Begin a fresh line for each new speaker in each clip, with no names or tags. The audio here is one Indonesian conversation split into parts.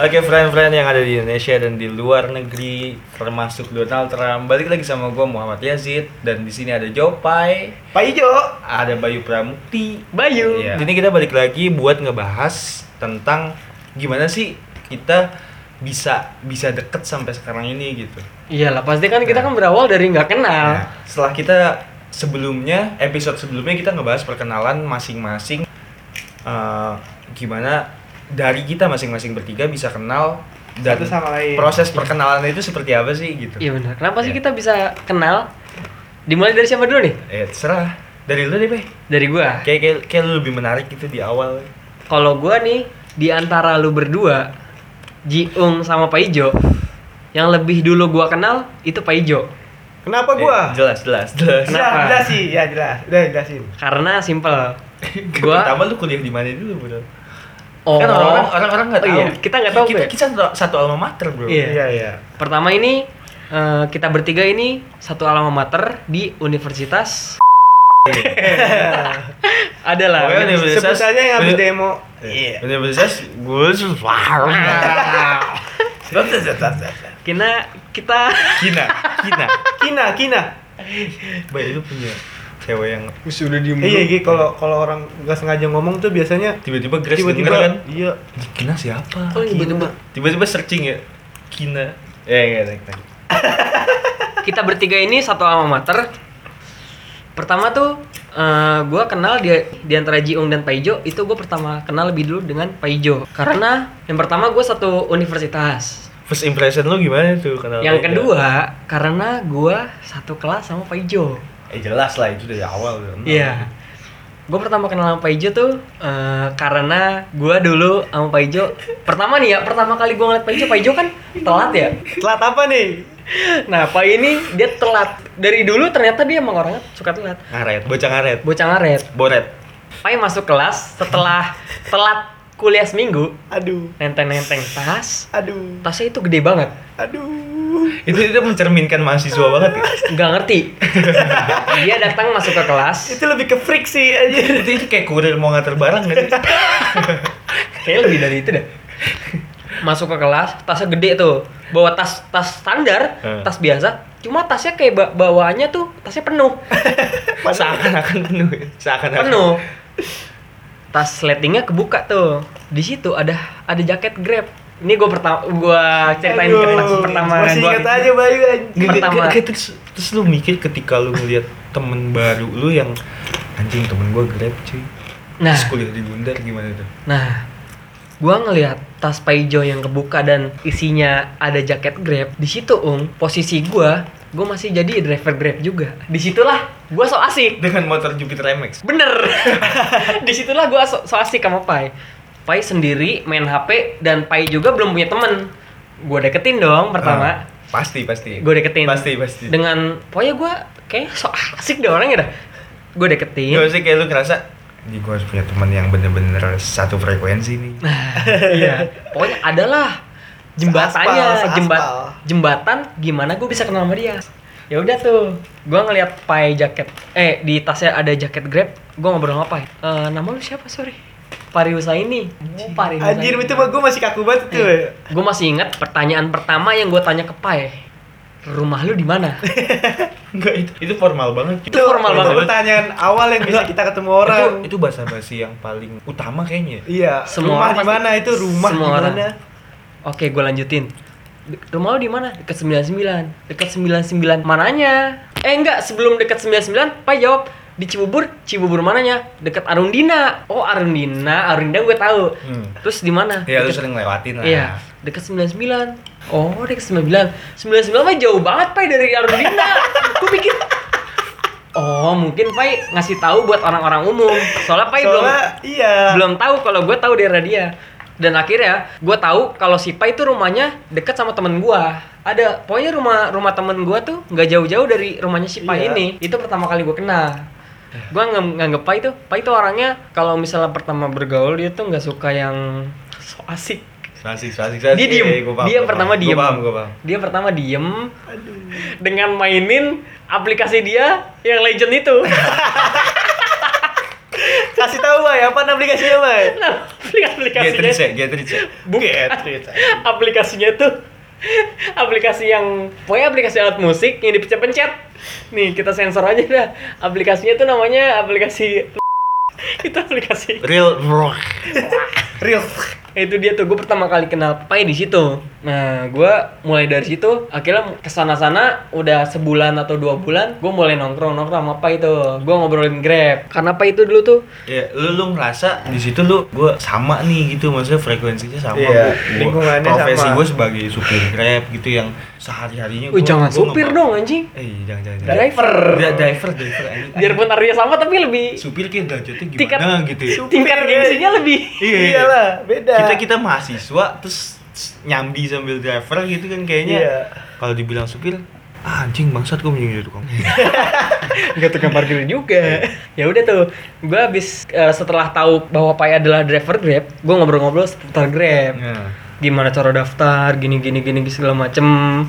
Oke, friend-friend yang ada di Indonesia dan di luar negeri, termasuk Donald Trump. Balik lagi sama gue Muhammad Yazid dan di sini ada Jopai,
Pak Ijo.
ada Bayu Pramukti.
Bayu.
Iya. Ini kita balik lagi buat ngebahas tentang gimana sih kita bisa bisa deket sampai sekarang ini gitu.
Iyalah, pasti kan kita kan berawal dari nggak kenal.
Ya.
Nah, setelah kita sebelumnya episode sebelumnya kita ngebahas perkenalan masing-masing eh, gimana dari kita masing-masing bertiga bisa kenal dan
Satu sama lain.
proses perkenalan itu seperti apa sih gitu.
Iya benar. Kenapa sih
Iya.
kita bisa kenal? Dimulai dari siapa dulu nih?
Eh terserah dari lu deh, Beh.
Dari gua.
Kayak kayak, kayak lu lebih menarik gitu di awal.
Kalau gua nih di antara lu berdua, Jiung sama Pak Ijo, yang lebih dulu gua kenal itu Pak Ijo.
Kenapa Oh, gua?
Eh, jelas, jelas, jelas.
Kenapa?
Jelas, jelas sih, ya jelas. Udah jelasin.
Karena simple. Gua
Pertama lu kuliah di mana dulu, Bro?
oh,
Kan orang-orang orang-orang enggak
Oh
tahu. ya.
iya, kita nggak tahu,
Kita,
Beh.
kita satu- satu alma mater, Bro.
Iya.
Iya, iya.
Pertama ini eh, kita bertiga ini satu alma mater di Universitas adalah
Pokoknya Universitas-
Sebutannya yang habis
Uni-
demo.
Iya. Universitas gue
kita kita
Kina, Kina.
Kina, Kina.
Baik lu punya cewek yang
Sudah diem Iya, iya, kalau kalau orang nggak sengaja ngomong tuh biasanya
tiba-tiba Grace denger kan?
tiba-tiba iya.
"Ini Kina siapa?
Oh, ini tiba-tiba.
Tiba-tiba searching ya. Kina. Eh, enggak enggak, enggak.
kita bertiga ini satu alma mater. Pertama tuh eh, gua kenal di, di antara Jiung dan Paijo itu gue pertama kenal lebih dulu dengan Paijo karena yang pertama gue satu universitas.
First impression lu gimana tuh kenal
Yang
mereka?
kedua karena gua satu kelas sama Paijo.
Eh jelas lah itu dari awal udah kenal.
Iya. Gue pertama kenal sama Pak Ijo tuh eh, karena gue dulu sama Pak Ijo pertama nih ya pertama kali gue ngeliat Pak Ijo Pak Ijo kan telat ya.
Telat apa nih?
Nah Pak ini dia telat dari dulu ternyata dia emang orangnya suka telat.
Ngaret, bocah ngaret.
Bocah ngaret.
Boret.
Pak masuk kelas setelah telat kuliah seminggu
Aduh,
nenteng-nenteng tas
aduh,
tasnya itu gede banget
aduh.
Itu itu mencerminkan mahasiswa banget ya.
nggak ngerti dia datang masuk ke kelas
Itu lebih ke freak sih aja.
Itu, itu kayak kurir mau nganter barang kan?
Kayaknya lebih dari itu dah. Masuk ke kelas, tasnya gede tuh. Bawa tas tas standar,
Hmm.
tas biasa. Cuma tasnya kayak ba- bawaannya tuh tasnya penuh,
Seakan-akan penuh. ya. Seakan-akan.
penuh. Tas sletingnya kebuka tuh. Di situ ada ada jaket Grab. Ini gue pertama gua ceritain
Aduh,
kenapa Eh, pertama
Masih
gua- gitu.
ingat aja Bayu anjing.
Nggak, nggak,
Pertama.
nggak, terus, terus lu mikir ketika lu ngeliat temen baru lu yang anjing temen gua grab cuy
Nah,
terus kuliah di Bundar gimana tuh
nah. Gua ngelihat tas Paijo yang kebuka dan isinya ada jaket Grab. Di situ, Ung, posisi gua, gua masih jadi driver Grab juga. Disitulah gua so asik.
dengan motor Jupiter MX
Bener. Disitulah gue so, so asik sama Pai. Pai sendiri main HP dan Pai juga belum punya temen. Gue deketin dong pertama.
Ah, pasti pasti
Gue deketin.
pasti pasti
Hmm. Dengan pokoknya gue kayak so asik deh orangnya dah. Gue deketin.
Gak sih kayak lu ngerasa di gua harus punya teman yang bener-bener satu frekuensi nih
iya. Pokoknya adalah jembatannya,
Seaspal, seaspal.
jembat, jembatan gimana gue bisa kenal sama dia. Ya udah tuh, gua ngeliat Pai jaket, eh di tasnya ada jaket Grab, gua ngobrol sama Pai. Eh nama lu siapa sorry? Pariusa ini. Oh, Pariusa.
Anjir itu mah gua masih kaku banget tuh.
Gue masih ingat pertanyaan pertama yang gue tanya ke Pai. Rumah lu di mana?
enggak itu itu formal banget
Itu formal banget.
pertanyaan awal yang bisa kita ketemu orang.
itu, itu bahasa basi yang paling utama kayaknya
Iya,
Semua
rumah
orang
di
pasti-
mana itu rumah di
semua orang.
mana?
Oke, gue lanjutin. "Dek- Rumah lu di mana? Dekat 99. Dekat 99 mananya? Eh enggak, sebelum dekat 99, Pai jawab di Cibubur, Cibubur mananya? Dekat Arundina. Oh, Arundina, Arundina gue tahu.
Hmm.
Terus di mana?
ya lu
Deket-
sering lewatin lah
Iya, dekat 99. Oh, dekat 99. 99 mah jauh banget, Pai, dari Arundina. Gue pikir Oh, mungkin Pai ngasih tahu buat orang-orang umum. Soalnya Pai belum
Soalnya iya.
belum tahu kalau gue tahu daerah dia. Dan akhirnya gue tahu kalau si Pai itu rumahnya dekat sama temen gue. Ada pokoknya rumah rumah temen gue tuh nggak jauh-jauh dari rumahnya si Pai
Iya.
ini. Itu pertama kali gue kenal. Gue nggak nganggep Pai tuh. Pai itu orangnya kalau misalnya pertama bergaul dia tuh nggak suka yang so asik.
Asik, asik, asik.
Dia diem.
Eh, gua paham,
Dia
gua
pertama
paham.
diem.
Gua paham, gua paham.
Dia pertama diem
Aduh.
dengan mainin aplikasi dia yang legend itu. Nah,
Kasih tahu Bay, apa aplikasinya Bay?
aplikasinya
Getrice, Getrice.
bukan
Getrice.
aplikasinya tuh aplikasi yang pokoknya aplikasi alat musik yang dipencet-pencet nih kita sensor aja dah aplikasinya tuh namanya aplikasi itu aplikasi
Real rock.
Real.
itu dia tuh gue pertama kali kenal Pai di situ nah gue mulai dari situ akhirnya kesana sana udah sebulan atau dua bulan gue mulai nongkrong nongkrong sama Pai tuh gue ngobrolin grab karena Pai itu dulu tuh
Ya, lu lu ngerasa di situ lu gue sama nih gitu maksudnya frekuensinya sama
Iya,
gua- gua-
lingkungannya
profesi
sama.
gue sebagai supir grab gitu yang sehari harinya
Wih jangan supir dong anjing
eh jangan jangan, jangan.
driver
Dri- driver driver anjing.
biarpun harganya sama tapi lebih
supir kayak derajatnya gimana
Tingkat-
gitu ya. Iya,
tingkat gengsinya lebih
Iyalah, beda.
kita kita mahasiswa terus nyambi sambil driver gitu kan kayaknya
Iya.
kalau dibilang supir ah, anjing bangsat gue menjadi tukang
Iya.
nggak tukang parkir juga ya udah tuh gue abis eh, setelah tahu bahwa Pai adalah driver grab gue ngobrol-ngobrol seputar
Iya.
grab
Nah.
gimana cara daftar gini gini gini segala macem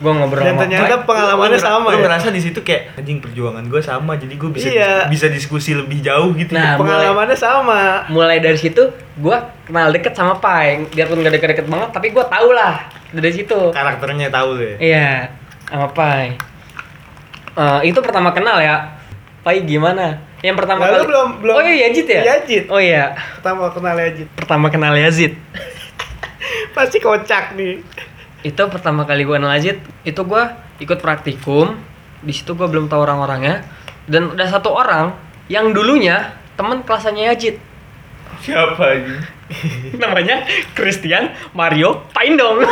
gue ngobrol
Dan
sama
ternyata
Pai.
pengalamannya
Lu ngera-
sama
lu
ya.
ngerasa di situ kayak anjing perjuangan gue sama jadi gue bisa
Iya.
bisa diskusi lebih jauh gitu
Nah,
Pengalamannya sama.
mulai dari situ gue kenal deket sama Pai biarpun gak deket-deket banget tapi gue tau lah dari situ
karakternya tahu ya. deh
iya sama Pai Eh, itu pertama kenal ya Pai gimana yang pertama
Lalu
kali
belum belum.
oh iya Yazid ya
Yazid.
oh iya
Pertama kenal Yazid.
pertama kenal Yazid
Pasti kocak nih.
itu pertama kali gue Yazid itu gue ikut praktikum di situ gue belum tahu orang-orangnya dan ada satu orang yang dulunya temen kelasnya Yazid
siapa anjing
namanya Christian Mario Paindong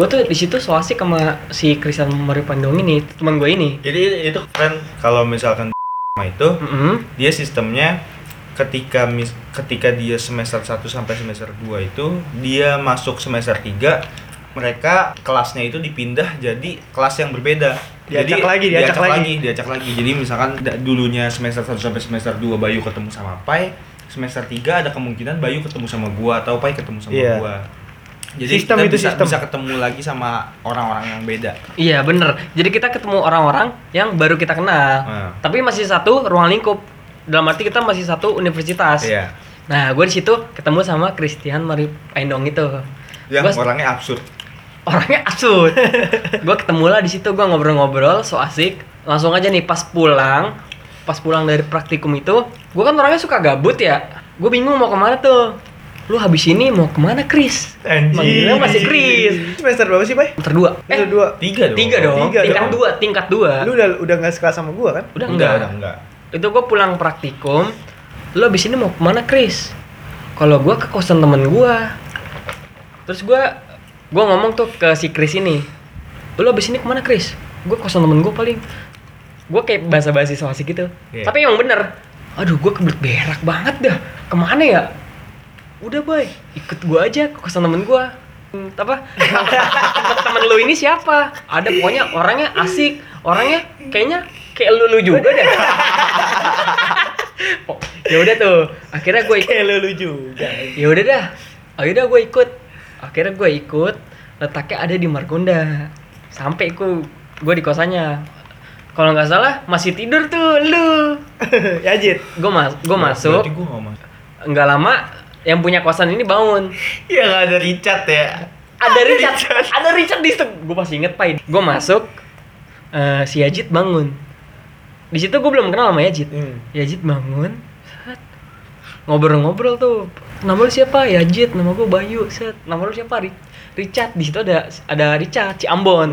gue tuh di situ so asik sama si Christian Mario Paindong ini teman gue ini
jadi itu keren kalau misalkan sama itu
Mm-mm.
dia sistemnya ketika mis- ketika dia semester 1 sampai semester 2 itu dia masuk semester 3 mereka kelasnya itu dipindah jadi kelas yang berbeda jadi,
Diajak lagi, diajak lagi.
diajak lagi jadi misalkan da- dulunya semester 1 sampai semester 2 Bayu ketemu sama Pai semester 3 ada kemungkinan Bayu ketemu sama gua atau Pai ketemu sama
Iya.
gua jadi
Sistem
kita
itu
bisa,
sistem.
bisa ketemu lagi sama orang-orang yang beda
iya bener jadi kita ketemu orang-orang yang baru kita kenal
Hmm.
tapi masih satu ruang lingkup dalam arti kita masih satu universitas
Iya.
nah gue di situ ketemu sama Christian Mario Paindong itu
yang
Gua-
orangnya absurd
orangnya absurd gue ketemu lah di situ gue ngobrol-ngobrol so asik langsung aja nih pas pulang pas pulang dari praktikum itu gue kan orangnya suka gabut ya gue bingung mau kemana tuh lu habis ini mau kemana Chris manggilnya masih Chris
Semester berapa sih, Bay?
semester dua eh
Semester 2.
tiga dong
tiga dong
Tiga
tingkat
dong.
dua tingkat dua
Lu udah udah enggak sekelas sama gua kan?
udah
enggak
enggak
udah enggak
itu gue pulang praktikum lu habis ini mau kemana Chris kalau gue ke kosan temen gue terus gue gue ngomong tuh ke si Chris ini lu habis ini kemana Chris gue kosan temen gue paling gue kayak basa-basi so asik gitu
Iya.
tapi emang bener aduh gue kebelet berak banget dah kemana ya udah boy ikut gue aja ke kosan temen gue Hmm, apa temen lu ini siapa ada pokoknya orangnya asik orangnya kayaknya kayak lu lu juga deh ya udah tuh akhirnya gue ikut
Kayak lu lu juga.
ya udah dah ayo dah gue ikut akhirnya gue ikut letaknya ada di Margonda sampai ku gue di kosannya kalau nggak salah masih tidur tuh lu
Yazid.
gue mas gue
Iya,
masuk
berarti gue nggak masuk
nggak lama yang punya kosan ini bangun
Ya nggak ada Richard ya.
ada Richard, ada Richard di situ. Gue masih inget Pai. Gue masuk, eh, si Yajid bangun. Di situ gue belum kenal sama Yajid.
Hmm.
Yajid bangun, set. ngobrol-ngobrol tuh. Nama lu siapa? Yajid. Nama gue Bayu. Set. Nama lu siapa? Ri- Richard. Di situ ada ada Richard Ciambon.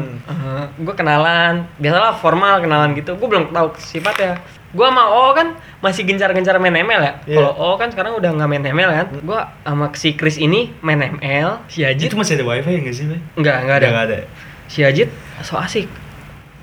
gue kenalan, biasalah formal kenalan gitu. Gue belum tahu sifatnya. Gue sama O kan masih gencar-gencar main ML ya.
Iya.
Kalau O kan sekarang udah nggak main ML kan. Gue sama si Chris ini main ML, si Yajid
Itu masih ada wifi ya nggak sih, Bay?
Enggak, enggak ada. Iya.
Udah nggak ada.
Si Ajit so asik.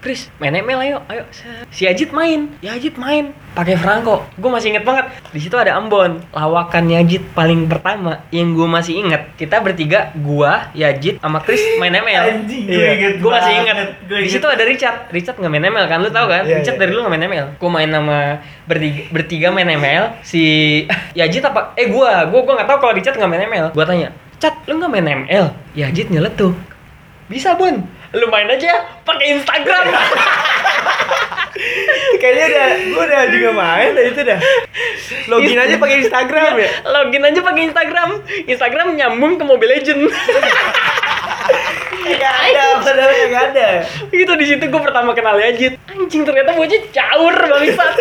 Chris, main ML ayo, ayo. Si Ajit main, ya Ajit main. Pakai Franco, gue masih inget banget. Di situ ada Ambon, lawakannya Ajit paling pertama yang gue masih inget. Kita bertiga, gua, Yajit, sama Chris main ML.
Anjing,
gue inget
Gue masih inget.
Gue
Di situ ada Richard, Richard nggak main ML kan, lu tau kan?
Iya,
Richard
iya.
dari lu nggak main ML. Gue main sama bertiga, bertiga main ML. Si Yajit apa? Eh gua, gua gua nggak tahu kalau Richard nggak main ML. Gua tanya, Cat, lu nggak main ML? Yajit nyeletuk. Bisa bun, lu main aja pakai Instagram.
Kayaknya udah gua udah juga main dari itu dah. Login aja pakai Instagram
Iya.
ya.
Login aja pakai Instagram. Instagram nyambung ke Mobile Legend.
Enggak Iya, ada,
Iya.
padahal enggak ada.
itu Gitu, di situ gue pertama kenal Yajit. Anjing ternyata bocah caur bangsat.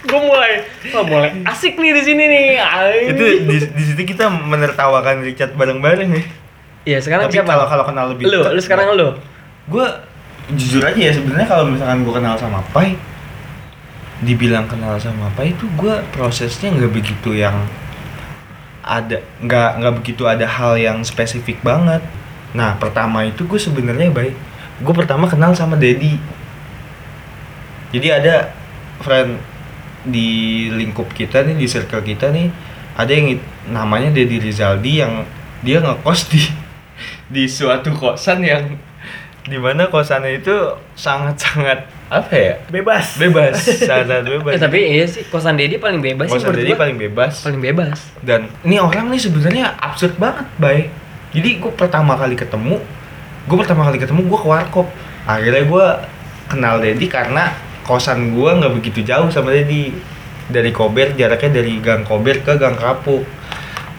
gue mulai, wah mulai asik nih di sini nih. Ay.
itu di, di situ kita menertawakan Richard bareng-bareng ya.
Iya, sekarang
Tapi
siapa?
kalau kalau kenal lebih
lu, lu sekarang lu.
gue jujur aja ya sebenarnya kalau misalkan gue kenal sama Pai dibilang kenal sama Pai itu gue prosesnya nggak begitu yang ada nggak nggak begitu ada hal yang spesifik banget nah pertama itu gue sebenarnya baik gue pertama kenal sama Dedi jadi ada friend di lingkup kita nih di circle kita nih ada yang it- namanya Dedi Rizaldi yang dia ngekos di di suatu kosan yang dimana kosannya itu sangat-sangat apa ya
Bebas.
bebas sangat bebas
Eh, tapi iya sih kosan Dedi paling bebas sih
kosan
menurut
Dedi
gua.
paling bebas
paling bebas.
dan ini orang nih sebenarnya absurd banget bay jadi gue pertama kali ketemu gue pertama kali ketemu gue ke warkop akhirnya gue kenal Dedi karena kosan gue nggak begitu jauh sama Dedi dari Kober jaraknya dari Gang Kober ke Gang Kapuk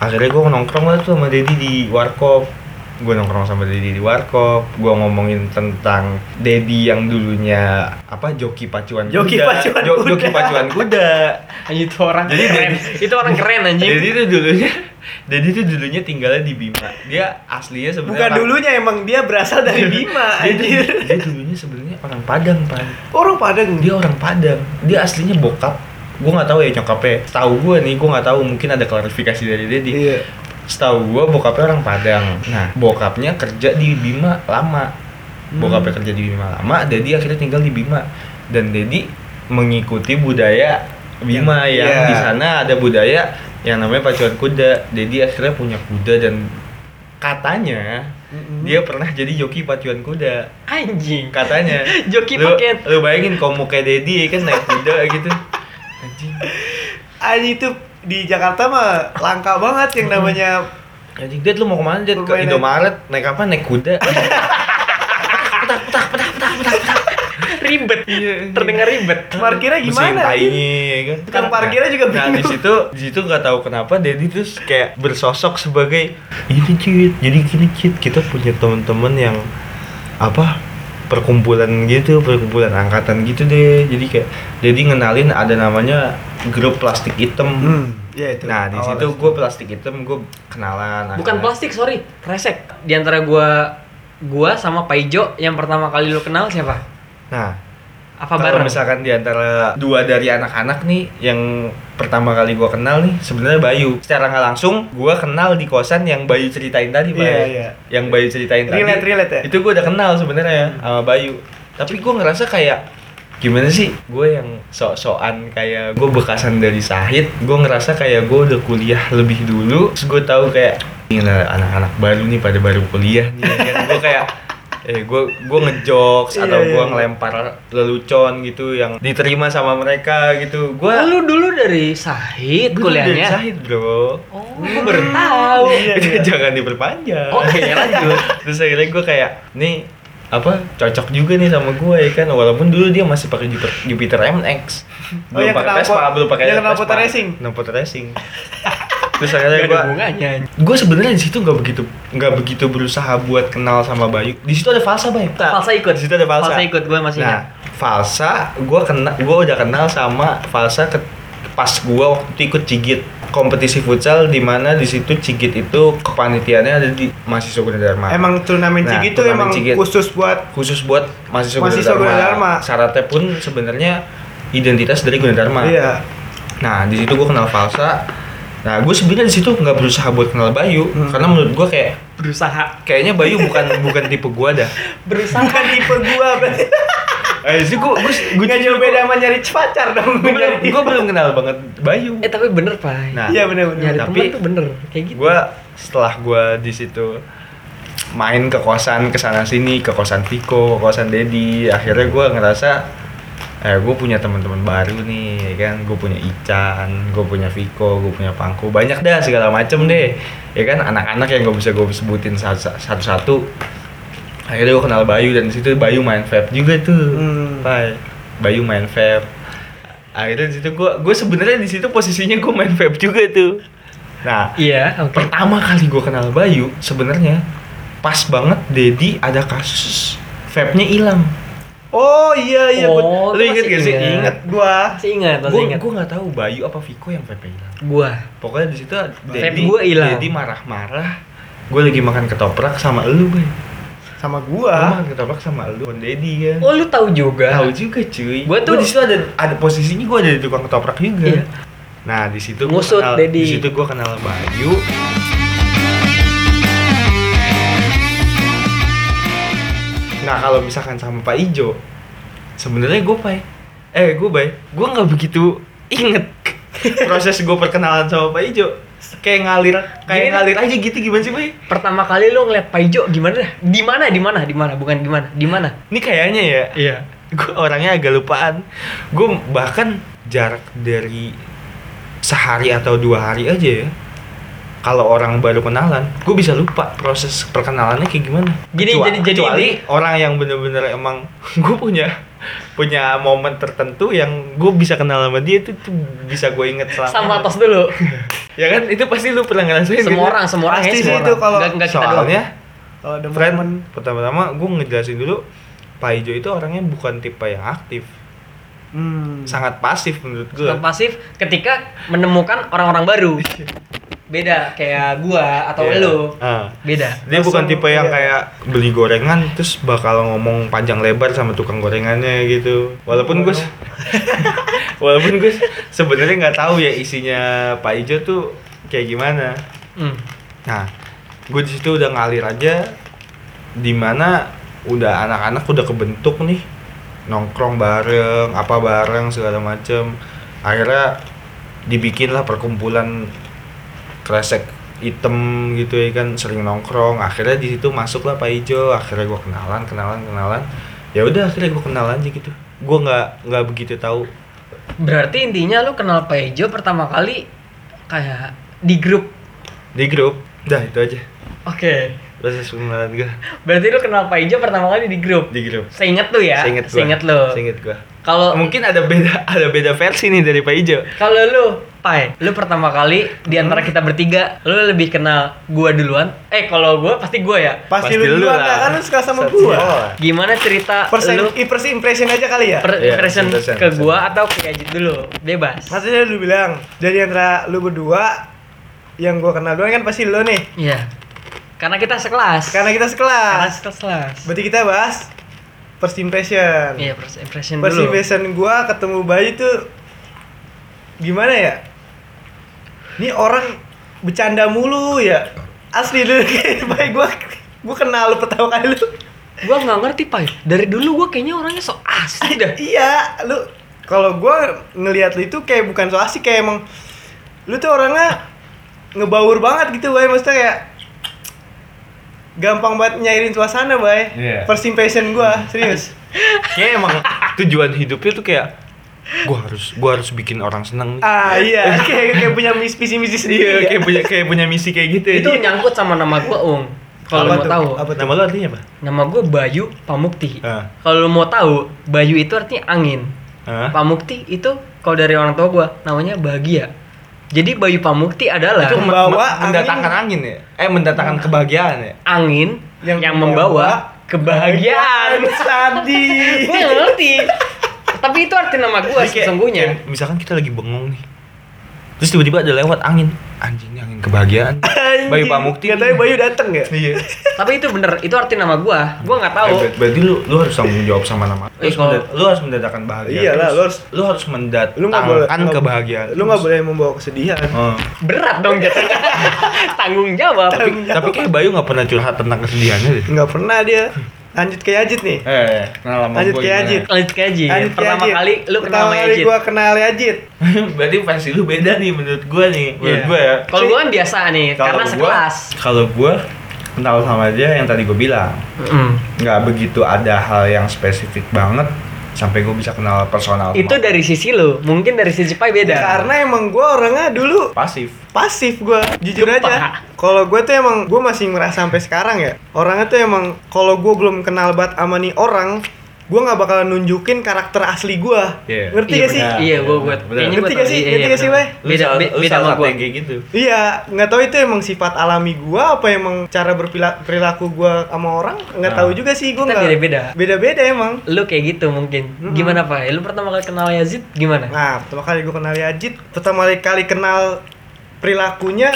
akhirnya gue nongkrong lah tuh sama Dedi di warkop gue nongkrong sama Dedi di warkop gue ngomongin tentang Dedi yang dulunya apa joki pacuan
Joki
kuda
pacuan
Jo-
kuda.
joki pacuan kuda
Anjing itu orang
Jadi
keren. itu orang keren anjing.
Dedi tuh dulunya, Dedi tuh dulunya tinggalnya di Bima. Dia aslinya
Bukan
sebenarnya orang-
dulunya emang dia berasal dari Bima
Dia, dulu-
anjir.
dia dulunya sebenarnya orang Padang, Pan.
Orang Padang dia
Dia orang Padang. Dia aslinya bokap. Gue nggak tahu ya nyokapnya. Tahu gue nih, gue nggak tahu. Mungkin ada klarifikasi dari Dedi.
Iya.
Setahu gue bokapnya orang Padang. Nah, bokapnya kerja di Bima lama. Bokapnya kerja di Bima lama, Dedi akhirnya tinggal di Bima. Dan Dedi mengikuti budaya Bima
Yang-
yang
iya.
di sana ada budaya yang namanya pacuan kuda. Dedi akhirnya punya kuda dan katanya
Mm-mm.
dia pernah jadi joki pacuan kuda.
Anjing.
Katanya.
Joki
Lu-
pakai-
Lu bayangin kalau mau kayak Dedi kan naik kuda gitu. Anjing.
Anjing itu di Jakarta mah langka banget yang namanya
Anjing, Dad lu mau kemana, Dad? Ke
Permainan.
Indomaret, naik apa? Naik kuda.
ribet.
Iya,
Terdengar ribet.
Iya, parkirnya
Mesin
gimana?
tainya, ya kan?
Tukang parkirnya juga
nah, di
bingung.
situ di situ nggak tahu kenapa Dedi terus kayak bersosok sebagai ini cit jadi gini cit kita punya teman-teman yang apa perkumpulan gitu perkumpulan angkatan gitu deh jadi kayak Dedi ngenalin ada namanya grup plastik hitam
Hmm, ya itu.
nah di
Awalnya.
situ gue plastik hitam gue kenalan
Bukan
akhirnya.
plastik, sorry. Kresek. Di antara gua gua sama Paijo yang pertama kali lu kenal siapa?
nah
Apa
Kalau
bareng?
misalkan di antara dua dari anak-anak nih yang pertama kali gua kenal nih sebenarnya Bayu. Secara nggak langsung gua kenal di kosan yang Bayu ceritain tadi, Pak.
Iya, iya.
Yang Bayu ceritain
Relate,
tadi.
relate ya?
Itu gua udah kenal sebenarnya sama Bayu. Tapi gua ngerasa kayak gimana sih gue yang sok-sokan kayak gue bekasan dari Sahid gue ngerasa kayak gue udah kuliah lebih dulu terus gue tahu kayak ini lah anak-anak baru nih pada baru kuliah nih gue kayak eh gue gue ngejokes
Iya,
atau
iya,
gue
iya.
lempar lelucon gitu yang diterima sama mereka gitu
Oh,
gua
Lu dulu dari Sahid
gua dari
kuliahnya.
Sahid bro
Oh, gua baru tahu.
Iya, iya. Oh,
jangan diperpanjang
Oke, lanjut.
terus akhirnya gue kayak nih apa cocok juga nih sama gue ya kan walaupun dulu dia masih pakai Jupiter, Jupiter MX
Oh, yang
pakai
kenal
Vespa
pot-
belum pakai
yang kenal
Vespa.
motor racing?
Kenal motor racing terus akhirnya
Gak ada
gue
hubungannya.
gue sebenarnya di situ nggak begitu nggak begitu berusaha buat kenal sama Bayu di situ ada Falsa Bayu Tak.
Falsa ikut.
di situ ada Falsa,
Falsa ikut, gue masih
nah
ingat.
Falsa gue kena gue udah kenal sama Falsa ke, pas gue waktu itu ikut Cigit kompetisi futsal di mana di situ Cigit itu kepanitiaannya ada di mahasiswa Gunadarma
Emang turnamen
Nah,
cigi itu
turnamen
emang
Cigi.
khusus buat
khusus buat mahasiswa,
Mahasiswa Gunadarma.
syaratnya pun sebenarnya identitas dari Gunadarma
Iya.
Nah, di situ gue kenal Falsa. Nah, gue sebenarnya di situ nggak berusaha buat kenal Bayu
Hmm.
karena menurut gue kayak
Berusaha.
kayaknya Bayu bukan bukan tipe gue dah.
Berusaha.
Bukan tipe gua berarti.
Eh, sih gue gue
Gak jauh beda sama nyari pacar dong. nyari tipe.
gue belum kenal banget Bayu.
Eh, tapi bener, Pak.
Nah,
Iya benar benar.
Nyari
tapi-
teman tuh bener. Kayak gitu.
gue setelah gue di situ main ke kosan ke sana sini ke kosan Viko ke kosan Dedi akhirnya gue ngerasa eh gue punya teman-teman baru nih ya kan gue punya Ican gue punya Viko gue punya Pangku banyak dah segala macem deh ya kan anak-anak yang gak bisa gue sebutin satu- satu-satu akhirnya gue kenal Bayu dan di situ Bayu main vape juga tuh
Hmm.
Pai. Bayu main vape akhirnya di situ gue gue sebenarnya di situ posisinya gue main vape juga tuh nah
Iya, oke.
pertama kali gue kenal Bayu sebenarnya pas banget Dedi ada kasus vape-nya hilang
Oh iya iya gua-
lu
Oh, lu
inget
masih
gak sih?
ingat.
Ingat.
gua
Masih ingat, masih
gue
ingat.
gue nggak tahu Bayu apa Viko yang vape hilang
Gua.
pokoknya di situ
Vape
Dedi
gua hilang.
Dedi marah-marah gue lagi makan ketoprak sama lu Bay
sama
Gua
gua.
makan ketoprak sama lu sama Dedi kan
Oh, lu tahu juga.
tahu juga cuy
Gua tuh-
di situ ada ada posisinya gue ada di tukang ketoprak juga
Iya.
nah di situ gua
Ngusut,
kenal-
Dedi.
di situ gue kenal Bayu nah kalau misalkan sama Pak Ijo sebenarnya gue Pai eh gue Bay gue nggak begitu inget proses gue perkenalan sama Pak Ijo kayak ngalir kayak
Gini.
ngalir aja gitu gimana sih Bay
Pertama kali lu ngeliat Paijo gimana dah? Di mana? Di mana? Di mana? Bukan di mana? Di mana?
ini kayaknya ya
Iya.
gue orangnya agak lupaan gue bahkan jarak dari sehari atau dua hari aja ya kalau orang baru kenalan gue bisa lupa proses perkenalannya kayak gimana
Gini,
Kecua-
jadi- jadi
kecuali
ini-
orang yang bener-bener emang gue punya punya momen tertentu yang gue bisa kenal sama dia itu, tuh bisa gue inget selama
Sama tos dulu.
ya kan itu pasti lu pernah ngerasain
Semua
gitu.
orang, semua orang
Pasti
ya,
sih
semua
itu
orang.
kalau-
Nggak- nggak kita doang.
soalnya
Kalau ada
Friend,
momen
pertama-tama gue ngejelasin dulu Pak Ijo itu orangnya bukan tipe yang aktif
hmm.
sangat pasif menurut gue
Tetap pasif ketika menemukan orang-orang baru. Beda kayak gua atau
Iya.
lu.
Ah.
Beda.
dia
Langsung,
bukan tipe yang
iya.
kayak beli gorengan terus bakal ngomong panjang lebar sama tukang gorengannya gitu walaupun gue se- walaupun gue se- sebenarnya nggak tahu ya isinya Pak Ijo tuh kayak gimana
Hmm.
nah gue di situ udah ngalir aja dimana udah anak-anak udah kebentuk nih nongkrong bareng apa bareng segala macem akhirnya dibikinlah perkumpulan kresek item gitu ya kan sering nongkrong akhirnya di situ masuklah Pak Ijo akhirnya gua kenalan kenalan kenalan ya udah akhirnya gua kenal aja gitu gua nggak nggak begitu tahu
Berarti intinya lu kenal Paijo pertama kali kayak di grup.
di grup dah itu aja
Oke.
proses pengenalan gua
Berarti lu kenal Paijo pertama kali di grup.
di grup
Seinget lu ya?
Seinget gua.
Seinget lu.
Seinget gua
Oh.
Kalau
mungkin ada beda ada beda versi nih dari Pak Ijo
Kalau lu, Pai, lu pertama kali di antara kita bertiga, lu lebih kenal gua duluan. Eh, kalau gua pasti gua ya.
Pasti, lu duluan lah kan lu suka sama
Pasti
gua.
lah.
Gimana cerita
First,
lu
im- first impression aja kali ya.
per
Iya,
impression
impression,
ke
impression.
gua atau ke Ajit dulu? Bebas.
Maksudnya lu bilang dari antara lu berdua yang gua kenal duluan kan pasti lu nih.
Iya. Karena kita sekelas.
Karena kita
Karena
sekelas.
sekelas.
Berarti kita bahas first impression.
Iya, first impression
First
dulu.
impression gua ketemu Bayu tuh gimana ya? Ini orang bercanda mulu ya. Asli dulu kayak Bayu gua gua kenal lu pertama kali lu.
Gua nggak ngerti, Pai. Dari dulu gua kayaknya orangnya so asli dah.
Iya, lu kalau gua ngelihat lu itu kayak bukan so asik kayak emang lu tuh orangnya ngebaur banget gitu, Bay. Maksudnya kayak gampang banget nyairin suasana, Bay.
Iya.
First impression gua, serius.
kayak emang tujuan hidupnya tuh kayak gua harus gua harus bikin orang seneng nih
ah, iya. kayak kayak punya mis- visi-misi
iya
sendiri. ya.
kayak punya kayak punya misi kayak gitu ya
Itu
dia.
nyangkut sama nama gua, Ung. Kalau lu
Apa
mau
tuh?
tahu.
Apa tuh?
nama lu artinya apa
Nama gua Bayu Pamukti.
Ah.
Kalau lu mau tahu, Bayu itu artinya angin.
Hah?
Pamukti itu kalau dari orang tua gua namanya bahagia. Jadi Bayu Pamukti adalah
itu
membawa
membawa
angin. Ah.
mendatangkan angin ya eh mendatangkan kebahagiaan ya
angin yang,
Yang
membawa kebahagiaan.
Iya, Tadi.
Gue ngerti. Tapi itu arti nama gua
Jadi kayak-
sesungguhnya.
kayak misalkan kita lagi bengong nih terus tiba-tiba ada lewat angin anjing ini angin kebahagiaan Bayu Pamukti
Gak tau Bayu dateng ya?
iya
Tapi itu bener, itu arti nama gua. Gua nggak tahu.
Eh, ber- berarti lu lu harus tanggung jawab sama nama lu,
Eh,
harus,
kalau-
mendat- lu harus mendatangkan bahagia
Iyalah,
terus.
Iya lu harus-
lu harus mendatangkan
Lu nggak boleh nggak-
kebahagiaan eh,
Lu nggak
terus.
boleh membawa kesedihan.
Heeh.
Berat dong jatuhnya. Tanggung jawab.
Tapi-
tapi kayak Bayu nggak pernah curhat tentang kesedihannya deh
Nggak pernah dia. Lanjut kayak Ajit nih.
eh kenal sama gua
Lanjut ke
gimana?
Ajit.
Lanjut ke Ajit.
Lanjut ke
Pertama
Ajit.
kali lu kenal
Iya, Pertama
sama
kali
Ajit.
gua kenal Ajit.
berarti versi lu beda nih menurut gua nih menurut
Iya.
gua ya
Kalau gua kan biasa nih, karena
gua-
sekelas.
kalau gua kenal sama dia yang tadi gua bilang
Mm.
nggak begitu ada hal yang spesifik banget sampai gua bisa kenal personal
Itu
sama-
dari sisi lu, mungkin dari sisi Pai
Iya
beda.
Karena emang gua orangnya dulu
pasif
pasif gua jujur
Lupa.
aja kalau gua tuh emang gua masih merasa sampai sekarang ya orangnya tuh emang kalau gua belum kenal banget sama nih orang gue nggak bakalan nunjukin karakter asli gue
Iya.
ngerti
Iya,
gak sih
benar.
Iya, gua buat.
Benar.
kayaknya gua
Ngerti
tahu
gak sih?
dia,
Ngerti
iya,
gak sih,
benar.
Bay?
Lu
Beda
salah-
be-
lu
beda
salah
sama
satu
gua. Nah,
yang kayak gitu
Iya, nggak tahu itu emang sifat alami gua apa emang cara berperilaku gua sama orang nggak
Nah.
tahu juga sih gua
Kita
nggak
beda-beda.
beda-beda emang.
Lu kayak gitu mungkin.
Mm-mm.
Gimana, Pak? Lu pertama kali kenal Yazid gimana?
Nah, pertama kali gua kenal Yajid, pertama kali kenal perilakunya,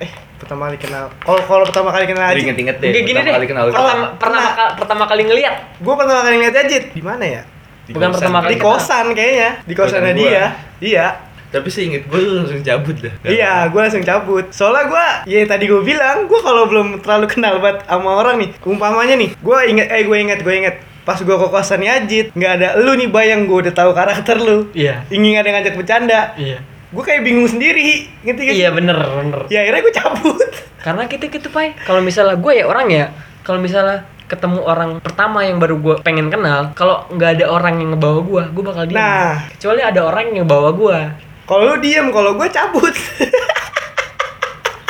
eh pertama kali kenal, kalau kalau pertama kali
Lu
kenal Yajid,
inget-inget deh
Kayak gini
pertama
deh.
kali kenal lu.
pertama,
Oh,
pertama,
pernah.
ka- pertama kali ngeliat.
gua pertama kali ngeliat Yajid di mana ya?
Di
bukan
kosan.
pertama kali
Di
kenal.
kosan kayaknya, di
Kosan
kosannya
gua.
dia. Iya,
tapi seinget gue lu langsung cabut dah
Iya, gue langsung cabut. Soalnya gue, ya tadi gue bilang, gue kalau belum terlalu kenal banget sama orang nih, umpamanya nih, gue inget, eh gue inget, gue inget, pas gue ke kosan Yajit, nggak ada lu nih bayang gue udah tahu karakter lu.
Iya.
Ingin ada yang ngajak bercanda,
Iya.
gue kayak bingung sendiri, ngerti gak? sih?
Iya, bener, bener.
Ya akhirnya gue cabut.
Karena kita gitu, Pak. Kalau misalnya gue ya orang ya, kalau misalnya ketemu orang pertama yang baru gue pengen kenal, kalau nggak ada orang yang ngebawa gue, gue bakal diam.
Nah.
Kecuali ada orang yang ngebawa gue.
Kalau lu diem, kalau gue cabut.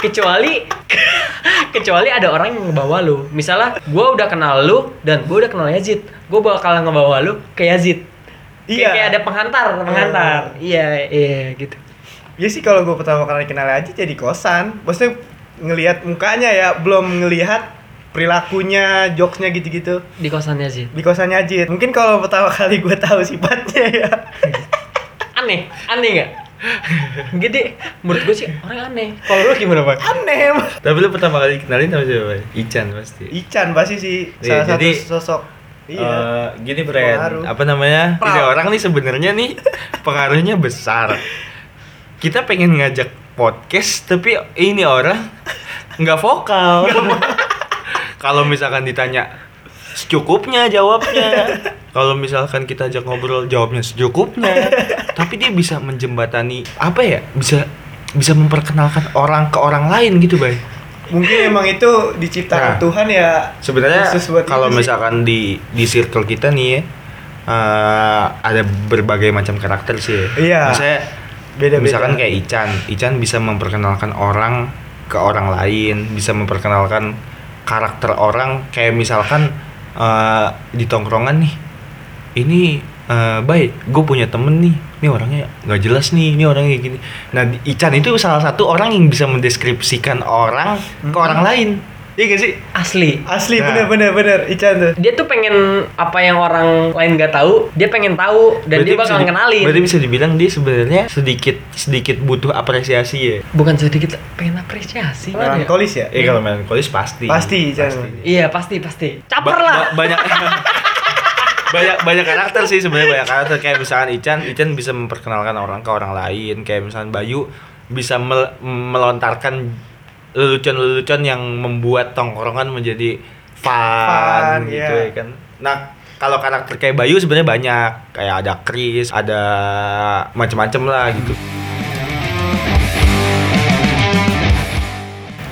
Kecuali kecuali ada orang yang ngebawa lu. Misalnya gue udah kenal lu dan gue udah kenal Yazid, gue bakal ngebawa lu ke Yazid. Kayak-
Iya. Hmm.
Kayak ada penghantar, penghantar. Iya, iya gitu.
ya sih kalau gue pertama kali kenal Yajit jadi kosan, maksudnya ngelihat mukanya ya, belum ngelihat perilakunya, jokesnya gitu-gitu.
Di kosan Yazid.
di kosannya Ajit. Mungkin kalau pertama kali gue tahu sifatnya ya.
Aneh, aneh nggak? Gede, menurut gue sih orang aneh. Kalau lu gimana, Pak?
Aneh. emang.
tapi lu pertama kali kenalin sama siapa Bay? Ican pasti
Ican pasti sih
Iya,
salah satu
jadi,
sosok. Iya.
Eh, gini Bren,
Pengaruh.
apa namanya?
Pra-
Ini orang nih sebenarnya nih pengaruhnya besar. Kita pengen ngajak podcast tapi ini orang nggak vokal. Kalau misalkan ditanya secukupnya jawabnya. Kalau misalkan kita ajak ngobrol jawabnya secukupnya. tapi dia bisa menjembatani apa ya? Bisa bisa memperkenalkan orang ke orang lain gitu, Bay.
Mungkin emang itu
Nah.
diciptakan Tuhan ya.
sebenarnya
khusus buat
kalau
ini sih.
misalkan di di circle kita nih ya eh, ada berbagai macam karakter sih ya.
Iya.
Maksudnya,
Beda-beda.
misalkan kayak Ican Ican bisa memperkenalkan orang ke orang lain bisa memperkenalkan karakter orang kayak misalkan eh, di tongkrongan nih ini eh baik gue punya temen nih ini orangnya nggak jelas nih ini orangnya kayak gini nah di- Ican itu salah satu orang yang bisa mendeskripsikan orang ke orang lain iya gak sih
Asli.
Asli
Nah.
bener bener bener Ican tuh.
dia tuh pengen apa yang orang lain nggak tahu dia pengen tahu dan dia
bisa
bakal
di-
kenalin
Berarti bisa dibilang dia sebenarnya sedikit sedikit butuh apresiasi ya.
bukan sedikit pengen apresiasi Gimana ya?
Melankolis ya.
Ya kalau melankolis pasti.
Pasti, Chan.
iya pasti pasti
Ba-
caper lah
ba- banyak banyak banyak karakter sih sebenarnya banyak karakter kayak misalkan Ican Ican bisa memperkenalkan orang ke orang lain kayak misalkan Bayu bisa mel- melontarkan lelucon-lelucon yang membuat tongkrongan menjadi
Fun,
fun, gitu ya
iya.
kan nah kalau karakter kayak Bayu sebenarnya banyak kayak ada Chris ada macam-macam lah gitu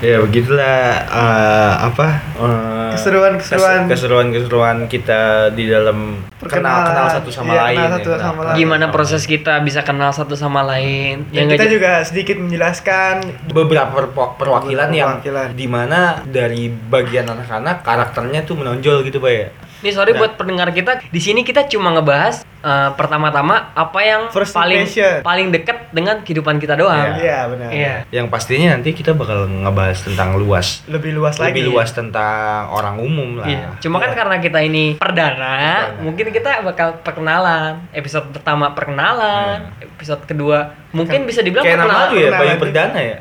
ya begitulah eh, apa eh,
Keseruan-keseruan.
keseruan-keseruan kita di dalam kenal
Perkenalan.
kenal satu sama
Iya,
lain
kenal
ya,
satu sama lain.
gimana proses kita bisa kenal satu sama lain
Ya,
Dan
nggak
kita
j-
juga sedikit menjelaskan
beberapa perpo- perwakilan yang
Perwakilan.
dimana dari bagian anak-anak karakternya tuh menonjol gitu pak ya
nih sorry
Nah.
buat pendengar kita di sini kita cuma ngebahas eh, pertama-tama apa yang
First
paling
impression.
paling dekat dengan kehidupan kita
Iya.
doang
Iya benar.
Iya.
yang pastinya nanti kita bakal ngebahas tentang luas
Lebih luas lagi.
lebih luas tentang orang umum lah
Iya. Cuma kan
Iya.
karena kita ini perdana,
Perdana.
mungkin kita bakal perkenalan. Episode pertama perkenalan, episode kedua mungkin bisa dibilang
Iya. Kan kayak nama
perkenalan.
lu ya
perkenalan.
Bayu Perdana ya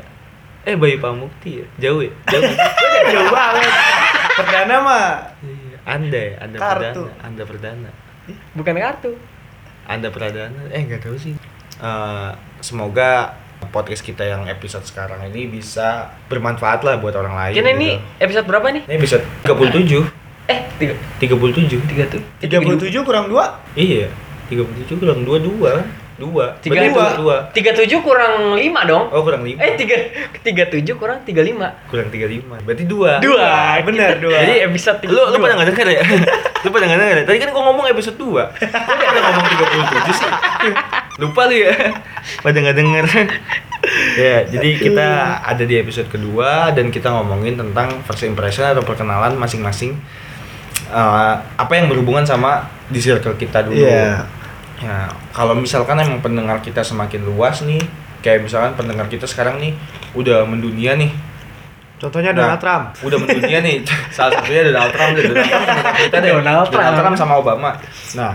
eh Bayu Pamukti ya jauh ya jauh
Iya, Jauh banget. Perdana mah
Iya, anda ya anda
Kartu.
perdana anda perdana
Bukan kartu.
Anda Pradana, eh nggak tahu sih. Eh, semoga podcast kita yang episode sekarang ini bisa bermanfaat lah buat orang lain.
Karena
gitu.
ini episode berapa nih?
ini episode 37,
Eh, tiga,
37.
tiga tuh.
37 kurang 2
Iya, 37 kurang 22 kan? 2.
Tiga
dua.
Tiga tujuh kurang lima dong.
Oh, kurang 5.
Eh, tiga, tiga tujuh kurang tiga lima.
kurang 35. Berarti 2.
Dua.
bener,
Kita-
dua.
Jadi episode tiga.
Lu lu
dua.
pada nggak denger ya? lu pada nggak denger ya? Tadi kan gua ngomong episode 2. Lu pada ngomong 37 sih. Lupa lu ya. Pada nggak denger. ya, jadi kita ada di episode kedua dan kita ngomongin tentang first impression atau perkenalan masing-masing eh, eh, apa yang berhubungan sama di circle kita dulu.
Iya.
Ya, kalau misalkan emang pendengar kita semakin luas nih, kayak misalkan pendengar kita sekarang nih udah mendunia nih,
Contohnya
Nah,
Donald Trump.
Udah mendunia nih. Salah satunya Donald Trump deh. Donald Trump pendengar kita deh.
Donald Trump.
sama Obama. Nah,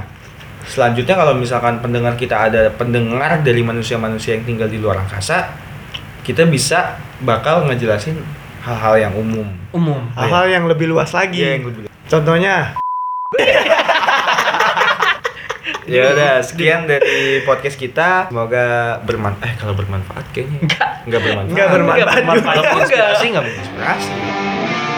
selanjutnya kalau misalkan pendengar kita ada pendengar dari manusia-manusia yang tinggal di luar angkasa, kita bisa bakal ngejelasin hal-hal yang umum.
umum
Ah,
Hal-hal yang lebih luas
Oh,
lagi.
Iya, yang lebih
Contohnya
Ya udah, sekian dari podcast kita. Semoga bermanfaat. Eh, kalau bermanfaat kayaknya. Enggak. bermanfaat.
Nggak bermanfaat
Kalau
juga.
konspirasi enggak menginspirasi.